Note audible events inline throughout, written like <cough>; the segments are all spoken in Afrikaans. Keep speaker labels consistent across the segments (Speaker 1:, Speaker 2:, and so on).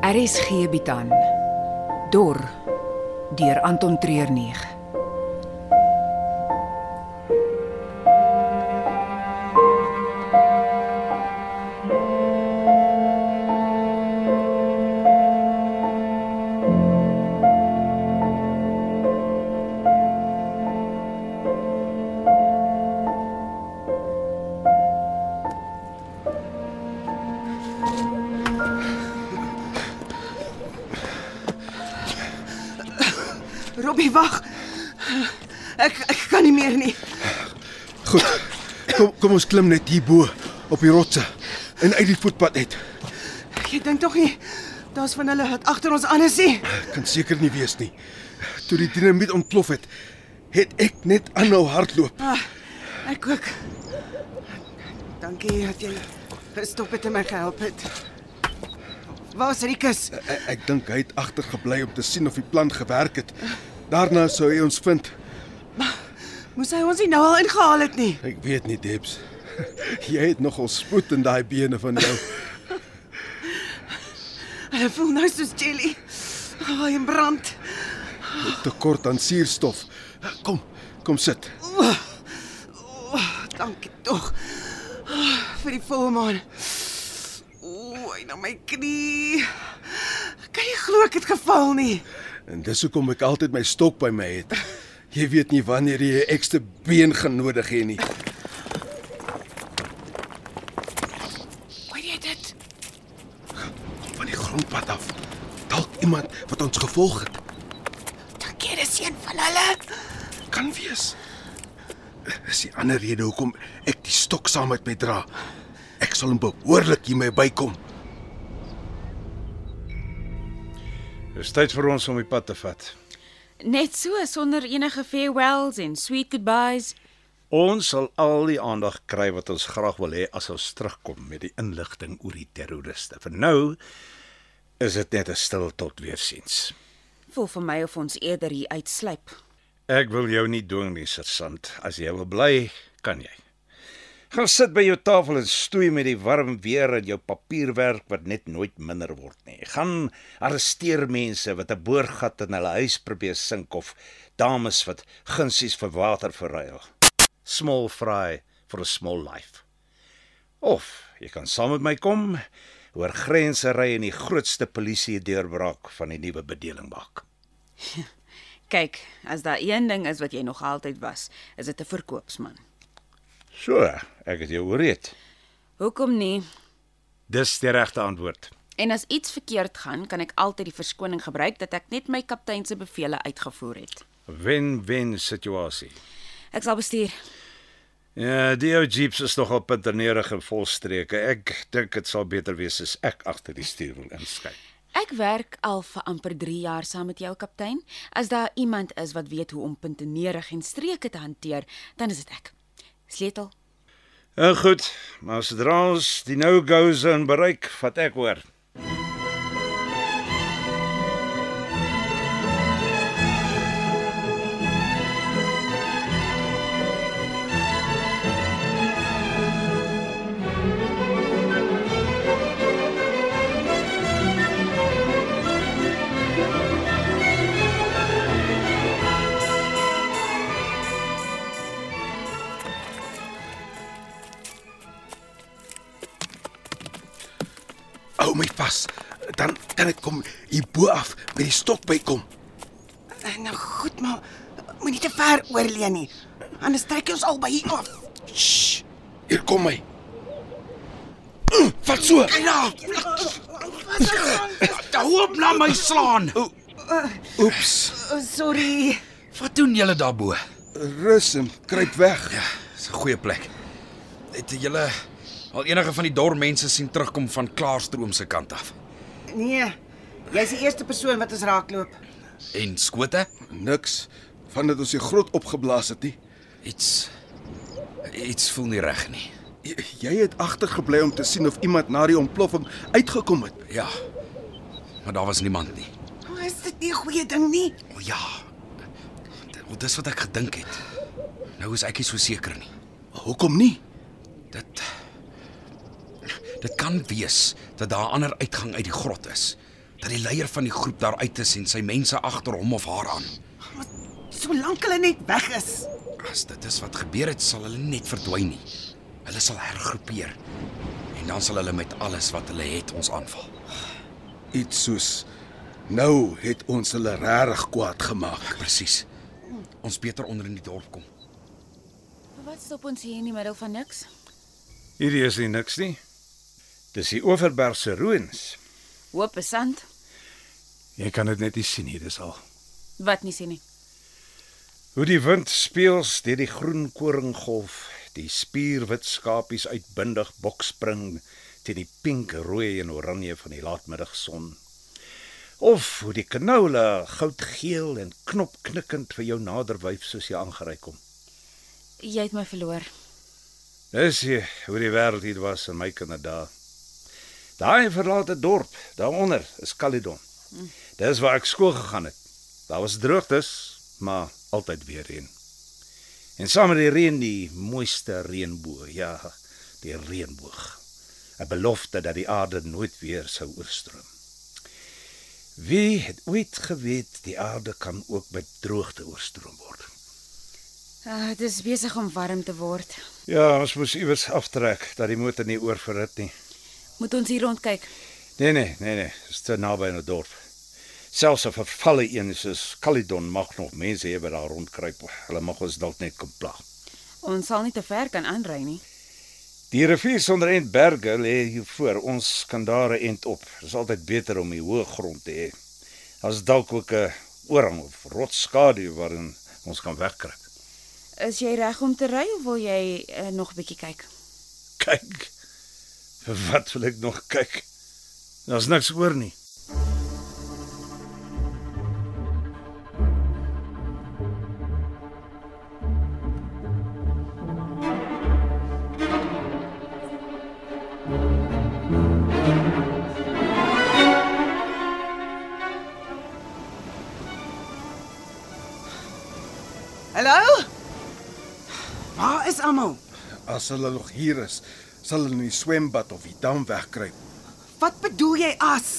Speaker 1: RSG bied aan Dor deur Anton Treurnig.
Speaker 2: Robbie, wag. Ek ek kan nie meer nie.
Speaker 3: Goed. Kom kom ons klim net hierbo op die rotse en uit die voetpad uit.
Speaker 2: Jy dink tog nie daar's van hulle wat agter ons aan is nie.
Speaker 3: Ek kan seker nie wees nie. Toe die dinamiet ontplof het, het ek net aanhou hardloop.
Speaker 2: Ah, ek ook. Dankie dat jy gestop het en my gehelp het. Waar's Rikus?
Speaker 3: Ek, E, ek dink hy het agtergebly om te sien of die plan gewerk het. Daarna sou hy ons vind.
Speaker 2: Moes hy ons nie nou al ingehaal het nie.
Speaker 3: Ek weet nie, Debs. <laughs> Jy het nogal spoed in daai bene van jou.
Speaker 2: Hulle voel nou soos jelly. Ai, oh, in brand.
Speaker 3: Tekort aan suurstof. Kom, kom sit.
Speaker 2: Oh, dankie tog. Oh, vir die volmaan. Ooh, na my knie. Kan jy glo ek het geval nie?
Speaker 3: En dis hoekom ek altyd my stok by my het. Jy weet nie wanneer jy 'n ekstra been gaan nodig hê nie.
Speaker 2: Hoor jy dit?
Speaker 3: Van die grondpad af. Dalk iemand wat ons gevolg het.
Speaker 2: Dink jy dis een van hulle?
Speaker 3: Kan wees. Dis die ander rede hoekom ek die stok saam met my dra. Ek sal hom behoorlik hiermee bykom.
Speaker 4: Dis tyd vir ons om die pad te vat.
Speaker 5: Net so sonder enige farewells en sweet goodbyes.
Speaker 4: Ons sal al die aandag kry wat ons graag wil hê as ons terugkom met die inligting oor die terroriste. Vir nou is dit net 'n stil tot weersiens.
Speaker 5: Voel vir my of ons eerder hier uitsluip.
Speaker 4: Ek wil jou nie dwing nie, sergeant. As jy wil bly, kan jy. Gaan sit by jou tafel en stoei met die warm weer en jou papierwerk wat net nooit minder word nie. Gaan arresteer mense wat 'n boorgat in hulle huis probeer sink of dames wat gunsies vir water verruil. Small fry for a small life. Of jy kan saam met my kom oor grense ry en die grootste polisie deurbraak van die nuwe bedeling maak.
Speaker 5: Kyk, as daar een ding is wat jy nog altyd was, is dit 'n verkoopsman.
Speaker 4: So, ek het jou oorreed.
Speaker 5: Hoekom nie?
Speaker 4: Dis die regte antwoord.
Speaker 5: En as iets verkeerd gaan, kan ek altyd die verskoning gebruik dat ek net my kaptein se bevele uitgevoer het.
Speaker 4: Wen-wen situasie.
Speaker 5: Ek sal bestuur.
Speaker 4: Ja, die ou jeeps is nogal pinternerig en volstreke. Ek dink dit sal beter wees as ek agter die stuur wil inskyk.
Speaker 5: Ek werk al vir amper 3 jaar saam met jou kaptein. As daar iemand is wat weet hoe om puntenerig en streke te hanteer, dan is dit ek. Sleutel.
Speaker 4: Nou goed, maar sodra ons die no-go zone bereik, vat ek oor.
Speaker 3: Hou my vas. Dan kan ek kom hierbo af met die stok bykom.
Speaker 2: Eh, Nou goed, maar moenie te ver oorleen nie. Anders trek jy ons albei hier af.
Speaker 3: Shh. Hier kom hy. Mm, Vat so.
Speaker 6: Ja,
Speaker 2: Wat <laughs> 'n gang.
Speaker 6: te hoop na my slaan.
Speaker 3: Oeps.
Speaker 2: Oh, eh, Sorry.
Speaker 6: Wat doen julle daarbo?
Speaker 3: Rus en kruip weg.
Speaker 6: Dis 'n goeie plek. Het julle al Eh, enige van die dorpmense sien terugkom van Klaarstroom se kant af?
Speaker 2: Nee. Jy's die eerste persoon wat ons raakloop.
Speaker 6: En skote?
Speaker 3: Niks van dit ons die grot opgeblaas het nie.
Speaker 6: Iets iets voel nie reg nie.
Speaker 3: J- Jy het agtergebly om te sien of iemand na die ontploffing uitgekom het.
Speaker 6: Ja. Maar daar was niemand nie.
Speaker 2: Oh, is dit nie 'n goeie ding nie?
Speaker 6: O ja. Wel dis wat ek gedink het. Nou is ek nie so seker nie.
Speaker 3: Hoekom nie?
Speaker 6: Dit Dit kan wees dat daar 'n ander uitgang uit die grot is. dat die leier van die groep daar uit is en sy mense agter hom of haar aan.
Speaker 2: Solank hulle net weg is.
Speaker 6: As dit is wat gebeur het, sal hulle net verdwyn nie. Hulle sal hergroepeer en dan sal hulle met alles wat hulle het ons aanval.
Speaker 3: Iets soos nou het ons hulle regtig kwaad gemaak.
Speaker 6: Presies. Ons beter onder in die dorp kom.
Speaker 5: Wat stop ons hier in die middel van niks?
Speaker 4: Hierdie is nie niks nie. Dis die Oeverberg se ruïnes.
Speaker 5: Hoop is sand
Speaker 4: Jy kan dit net nie sien nie, dis al.
Speaker 5: wat nie sien nie.
Speaker 4: Hoe die wind speels deur die groen koringgolf, die spierwit skapies uitbundig bokspring teen die pink, rooi en oranje van die laatmiddagson. Of hoe die canola goudgeel en knopknikkend vir jou naderwyf soos jy aangery kom.
Speaker 5: Jy het my verloor.
Speaker 4: Dis jy, Nou hoe die wêreld hier was in my kinderdae. Daai verlate dorp daaronder is Caledon. Dis waar ek skool gegaan het. Daar was droogtes, maar altyd weer reën. En saam met die reën die mooiste reënboog, ja, die reënboog. 'n Belofte dat die aarde nooit weer sou oorstroom. Wie het ooit geweet die aarde kan ook met droogte oorstroom word?
Speaker 5: Ah, dit is besig om warm te word.
Speaker 4: Ja, ons moes iewers aftrek dat die motor nie oorverhit nie.
Speaker 5: Moet ons hier rondkyk.
Speaker 4: Nee nee, nee nee, dis te naby aan 'n dorp. Selfs 'n vervalle een soos Caledon mag nog mense hê wat daar rondkruip. Hulle mag ons dalk net kom plaag.
Speaker 5: Ons sal nie te ver kan aanry nie.
Speaker 4: Die rivier sonder end berge lê hier voor. Ons kan daar 'n end op. Dit is altyd beter om die hoë grond te hê. Daar's dalk ook 'n oorhang of rotsskaduw waarin ons kan wegkruip.
Speaker 5: Is jy reg om te ry of wil jy uh, nog 'n bietjie kyk?
Speaker 4: Kyk. Vir wat wil ek nog kyk? Daar's niks oor nie.
Speaker 2: Hallo? Waar is almal?
Speaker 3: As hulle nog hier is, sal hulle in die swembad of die dam wegkruip.
Speaker 2: Wat bedoel jy as?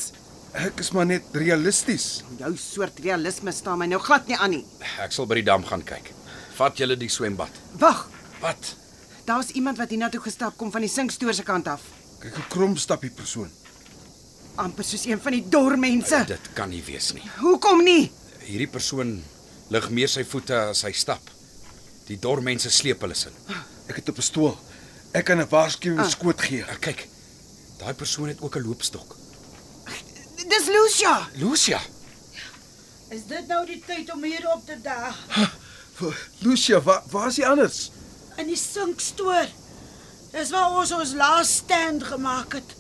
Speaker 3: Ek is maar net realisties.
Speaker 2: Jou soort realisme staan my nou glad nie aan nie.
Speaker 6: Ek sal by die dam gaan kyk. Vat julle die swembad.
Speaker 2: Wag,
Speaker 6: Wat?
Speaker 2: daar's iemand wat hiernatoe gestap kom van die sinkstoor se kant af.
Speaker 3: Kyk hoe krom stap die persoon.
Speaker 2: amper soos een van die dormense.
Speaker 6: Dit kan nie wees nie.
Speaker 2: Hoekom nie?
Speaker 6: Hierdie persoon lig meer sy voete as hy stap. Die dormense sleep hulle sin.
Speaker 3: Ek het 'n pistool. Ek kan 'n waarskuwingsskoot gee.
Speaker 6: Ah, Kyk. Daai persoon het ook 'n loopstok.
Speaker 2: Dis Lucia.
Speaker 6: Lucia,
Speaker 7: Is dit nou die tyd om hier op te daag?
Speaker 3: Lucia, waar waar is jy anders?
Speaker 7: In die sinkstoor. Dis waar ons ons laaste stand gemaak het.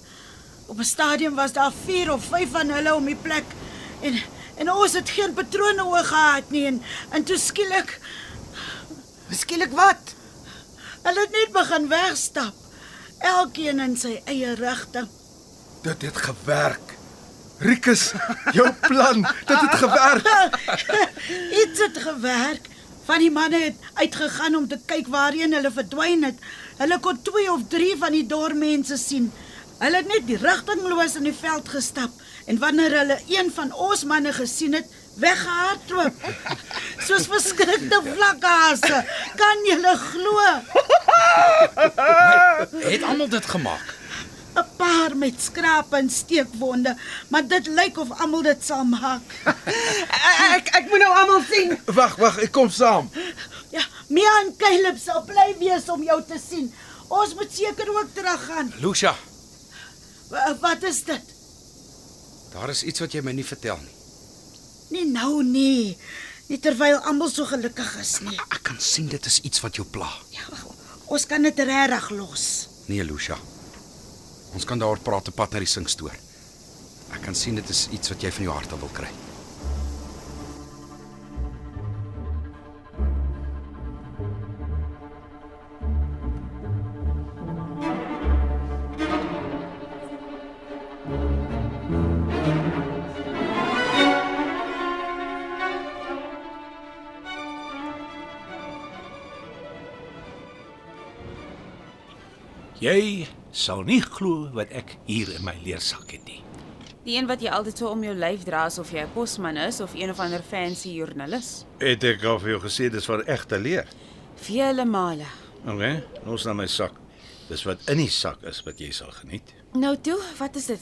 Speaker 7: Op 'n stadium was daar 4 of 5 van hulle om die plek en en ons het geen patrone oor gehad nie en en toe skielik
Speaker 2: Skielik wat?
Speaker 7: hulle het net begin wegstap. Elkeen in sy eie rigting.
Speaker 3: Dit het gewerk. Rikus, jou plan, dit het gewerk.
Speaker 7: <laughs> Iets het gewerk. Van die manne het uitgegaan om te kyk waarheen hulle verdwyn het. Hulle kon twee of drie van die dorpmense sien. Hulle het net die rigtingloos in die veld gestap en wanneer hulle een van ons manne gesien het, weggehardloop. Soos verskrikte vlakhase. Kan jy glo?
Speaker 6: het almal dit gemaak.
Speaker 7: 'n Paar met skrape en steekwonde, maar dit lyk of almal dit sal maak.
Speaker 2: Ek ek moet nou almal sien.
Speaker 3: Wag, wag, ek kom saam.
Speaker 7: Ja, Mia en Caleb sal bly wees om jou te sien. Ons moet seker ook teruggaan.
Speaker 6: Lucia,
Speaker 7: Wa- Wat is dit?
Speaker 6: daar is iets wat jy my nie vertel nie.
Speaker 7: Nie nou nie. Nie terwyl almal so gelukkig is nie.
Speaker 6: Ek kan sien dit is iets wat jou pla.
Speaker 7: Ja, ons kan dit regtig los.
Speaker 6: Nee, Lucia. Ons kan daaroor praat op pad na die sinkstoor. Ek kan sien dit is iets wat jy van jou hart af wil kry.
Speaker 8: Jy sal nie glo wat ek hier in my leersak het nie.
Speaker 5: Die een wat jy altyd so om jou lyf dra asof jy 'n posman is of een of ander fancy joernalis.
Speaker 4: Het ek al vir jou gesê dis vir egte leer.
Speaker 5: Vele male.
Speaker 4: Okay, ons na my sak. Dis wat in die sak is wat jy sal geniet.
Speaker 5: Nou toe, wat is dit?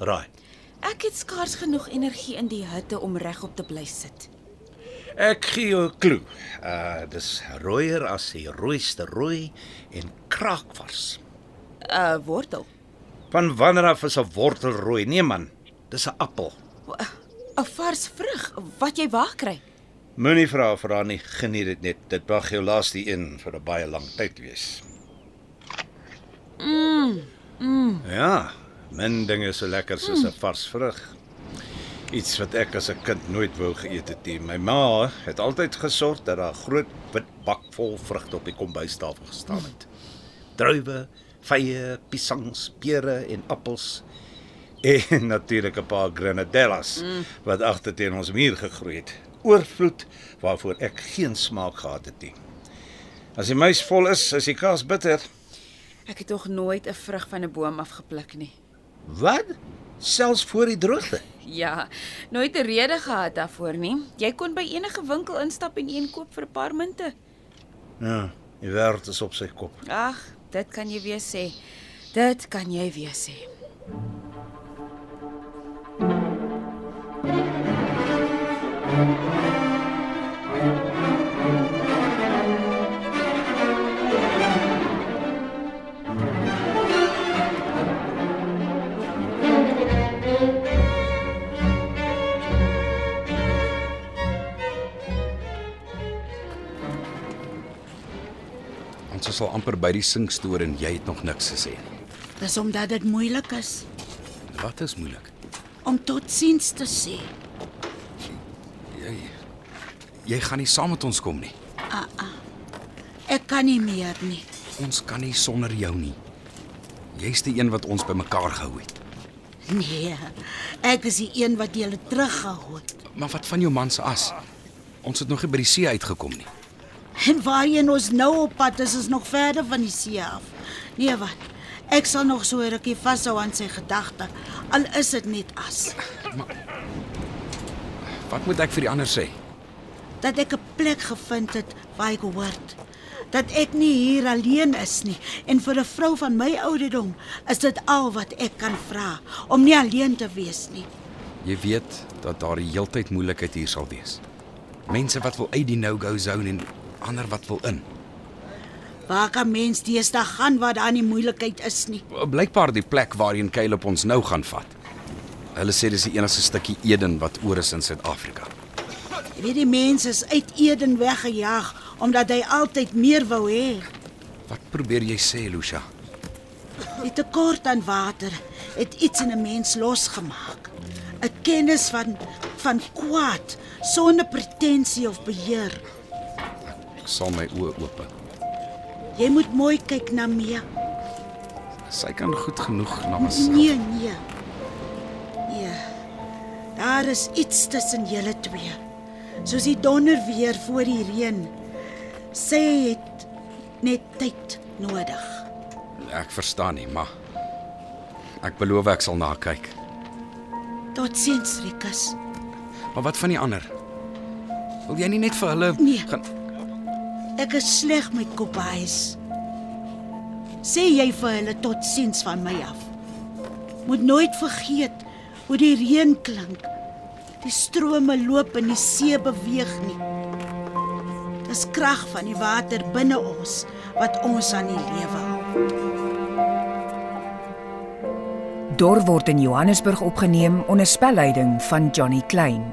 Speaker 4: Raai.
Speaker 5: Ek het skaars genoeg energie in die hitte om regop te bly sit.
Speaker 4: Ek gee jou 'n klou. Uh dis rooier as die rooiste rooi en kraakwars.
Speaker 5: 'n uh, Wortel.
Speaker 4: Van wanneer af is 'n wortel rooi? Nee man, dis 'n appel.
Speaker 5: 'n Vars vrug wat jy waar kry.
Speaker 4: Moenie vra vir haar nie, geniet dit net. Dit mag jou laaste een vir 'n baie lang tyd wees. Mm. Mm. Ja, min dinge so lekker soos 'n vars vrug. Iets wat ek as 'n kind nooit wou geëet het nie. My ma het altyd gesorg dat daar 'n groot wit bak vol vrugte op die kombuistafel gestaan het. Druiwe, vye, piesangs, pere en appels <laughs> en natuurlik 'n paar grenadellas mm. wat agter teen ons muur gegroei het. Oorvloed waarvoor ek geen smaak gehad het nie. As die muis vol is, is die kaas bitter.
Speaker 5: Ek het nog nooit 'n vrug van 'n boom afgepluk nie.
Speaker 4: Wat? Selfs voor die droogte.
Speaker 5: Ja, nooit 'n rede gehad daarvoor nie. Jy kon by enige winkel instap en een koop vir 'n paar munte.
Speaker 4: Ja, die wêreld is op sy kop.
Speaker 5: Ag, dit kan jy weer sê. Dit kan jy weer sê.
Speaker 6: Ons is al amper by die sinkstoor en jy het nog niks gesê nie.
Speaker 7: Dis omdat dit moeilik is
Speaker 6: Wat is moeilik?
Speaker 7: om totsiens te sê.
Speaker 6: Jy jy gaan nie saam met ons kom nie.
Speaker 7: Ek kan nie meer nie.
Speaker 6: Ons kan nie sonder jou nie. Jy's die een wat ons bymekaar gehou het.
Speaker 7: Nee. Ek is die een wat julle teruggehou het.
Speaker 6: Maar wat van jou man se as? Ons het nog nie by die see uitgekom nie.
Speaker 7: En waarheen ons nou op pad is, is nog verder van die see af. Nee, wat? Ek sal nog so 'n rukkie vashou aan sy gedagte, al is dit net as
Speaker 6: Wat moet ek vir die ander sê?
Speaker 7: dat ek 'n plek gevind het waar ek hoort. Dat ek nie hier alleen is nie en vir 'n vrou van my ouderdom is dit al wat ek kan vra om nie alleen te wees nie.
Speaker 6: Jy weet dat daar die heeltyd moeilikheid hier sal wees. Mense wat wil uit die no-go zone en ander wat wil in.
Speaker 7: Waar kan mens deesdae gaan waar daar nie moeilikheid is nie?
Speaker 6: Blykbaar die plek waarheen Kyle op ons nou gaan vat. Hulle sê dis die enigste stukkie Eden wat oor is in Suid-Afrika.
Speaker 7: Jy weet die mense is uit Eden weggejaag omdat hy altyd meer wou hê.
Speaker 6: Wat probeer jy sê, Lucia?
Speaker 7: Die tekort aan water het iets in 'n mens losgemaak. 'n Kennis van van kwaad sonder pretensie of beheer.
Speaker 6: Ek sal my oë oop.
Speaker 7: Jy moet mooi kyk na Mia.
Speaker 6: Sy kan goed genoeg na myself.
Speaker 7: Nee, nee. Nee. Daar is iets tussen julle twee. Soos die donder weer voor die reën. Sy het net tyd nodig.
Speaker 6: Ek verstaan nie, maar ek beloof ek sal na kyk.
Speaker 7: Totsiens, Rikus.
Speaker 6: Maar wat van die ander? Wil jy nie net vir hulle
Speaker 7: Nee.
Speaker 6: gaan
Speaker 7: Ek is sleg met koppies. Sê jy vir hulle totsiens van my af. Moet nooit vergeet hoe die reën klink. Die strome loop en die see beweeg nie. Dis krag van die water binne ons wat ons aan die lewe hou.
Speaker 1: Dor word in Johannesburg opgeneem onder spelleiding van Johnny Klein.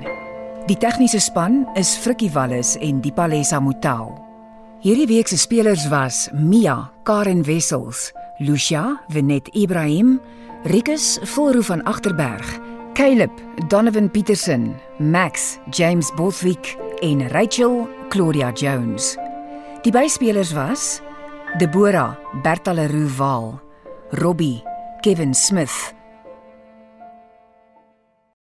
Speaker 1: Die tegniese span is Frikkie Wallis en Dipalesa Motelo. Hierdie week se spelers was Mia, Karen Wessels, Lucia, Wenet Ibrahim, Rikus Volroo van Agterberg, Caleb, Donovan Petersen, Max, James Botwick en Rachel Claudia Jones. Die byspelers was Debora Bertaleroe Waal, Robbie Kevin Smith,